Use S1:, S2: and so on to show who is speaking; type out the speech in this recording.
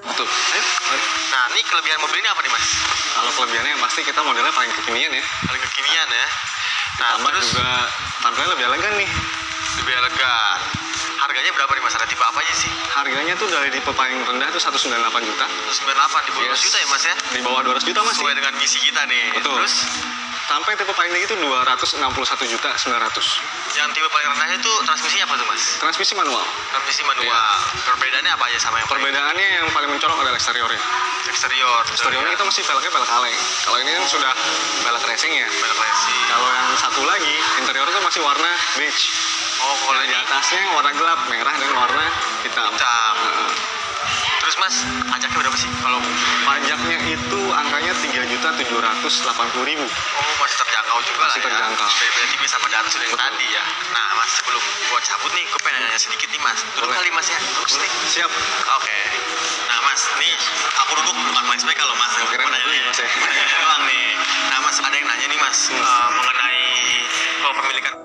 S1: Tuh, ini-
S2: Nah, ini kelebihan mobil ini apa nih, Mas?
S1: kalau kelebihannya yang pasti kita modelnya paling kekinian ya.
S2: Paling kekinian ya. Nah,
S1: Tambah
S2: terus
S1: juga tampilannya lebih elegan nih.
S2: lebih elegan. Harganya berapa nih, Mas? Ada tipe apa aja sih?
S1: Harganya tuh dari tipe paling rendah tuh 198 juta.
S2: 98 di bawah
S1: Yes.
S2: 200 juta ya, Mas ya?
S1: Di bawah 200 juta masih.
S2: Sesuai dengan misi kita nih.
S1: Betul.
S2: Terus
S1: Sampai tipe paling tinggi itu 261 juta 900.
S2: yang tipe paling rendahnya itu transmisinya apa tuh, Mas?
S1: Transmisi manual.
S2: Transmisi manual.
S1: Iya.
S2: Perbedaannya apa aja sama yang paling
S1: Perbedaannya yang paling mencolok adalah eksteriornya.
S2: eksterior? betul
S1: Eksteriornya
S2: ya?
S1: kita masih velgnya velg kaleng. Kalau ini kan sudah velg racing ya.
S2: Belok lesi.
S1: Kalau yang satu lagi, interior itu masih warna beige.
S2: Oh, kalau
S1: Di
S2: ini
S1: atasnya warna gelap, merah dan warna hitam.
S2: hitam.
S1: Nah,
S2: Terus, Mas, pajaknya berapa sih? Kalau
S1: Pajaknya itu angkanya 3.780.000.
S2: Oh masih terjangkau juga
S1: Masih
S2: lah
S1: terjangkau.
S2: ya. Beda tipis sama Darsun yang
S1: Betul.
S2: tadi ya. Nah mas sebelum gua cabut nih, gua pengen nanya sedikit nih mas. Duduk
S1: Boleh.
S2: kali mas ya, terus nih.
S1: Siap.
S2: Oke. Nah mas, nih aku duduk bukan flashback kalau mas.
S1: Gua kira
S2: Gua nanya
S1: duduk ya,
S2: nih.
S1: Mas, ya.
S2: Nanya doang nih. Nah mas ada yang nanya nih mas
S1: Hmm.
S2: eh, mengenai kepemilikan